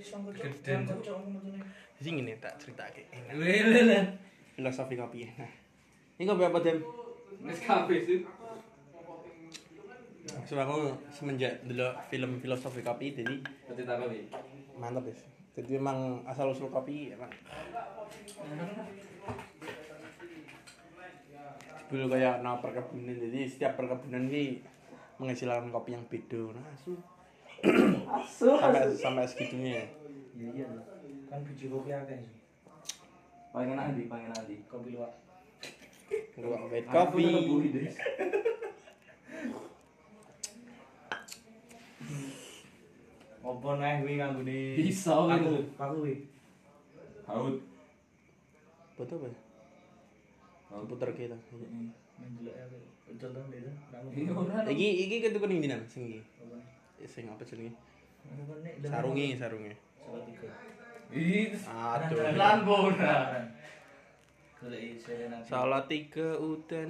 iso ngocok. Geden. Ngocok ngono Jadi ngene tak critake. enak. Lele lah. Filosofi kopi ya. Nah. Ini kopi apa, Dem? Wis kabeh sih. Sebab aku semenjak dulu film filosofi kopi jadi Berarti tak kopi. mantap ya. Jadi emang asal usul kopi emang dulu kayak no perkebunan jadi setiap perkebunan ini menghasilkan kopi yang beda nah asu Asu. sampai sampai segitunya Iya. Kan biji kopi akeh sih. Paling enak ndi, paling enak ndi. Kopi luwak. Luwak white Aku kopi tetep bui, Des. Opo nae kuwi nganggone Bisa, weh. aku aku kuwi. Haut. betul apa Haut. putar kita Menjelek aku. Contoh dhewe. Iya ora. iki iki ketu kuning dinan sing iki Apa nih? sing apa jenenge Apa nih? sarungi sarungi Salatiga. Ih, aduh lan bola. Golek Serena. salah tiga udan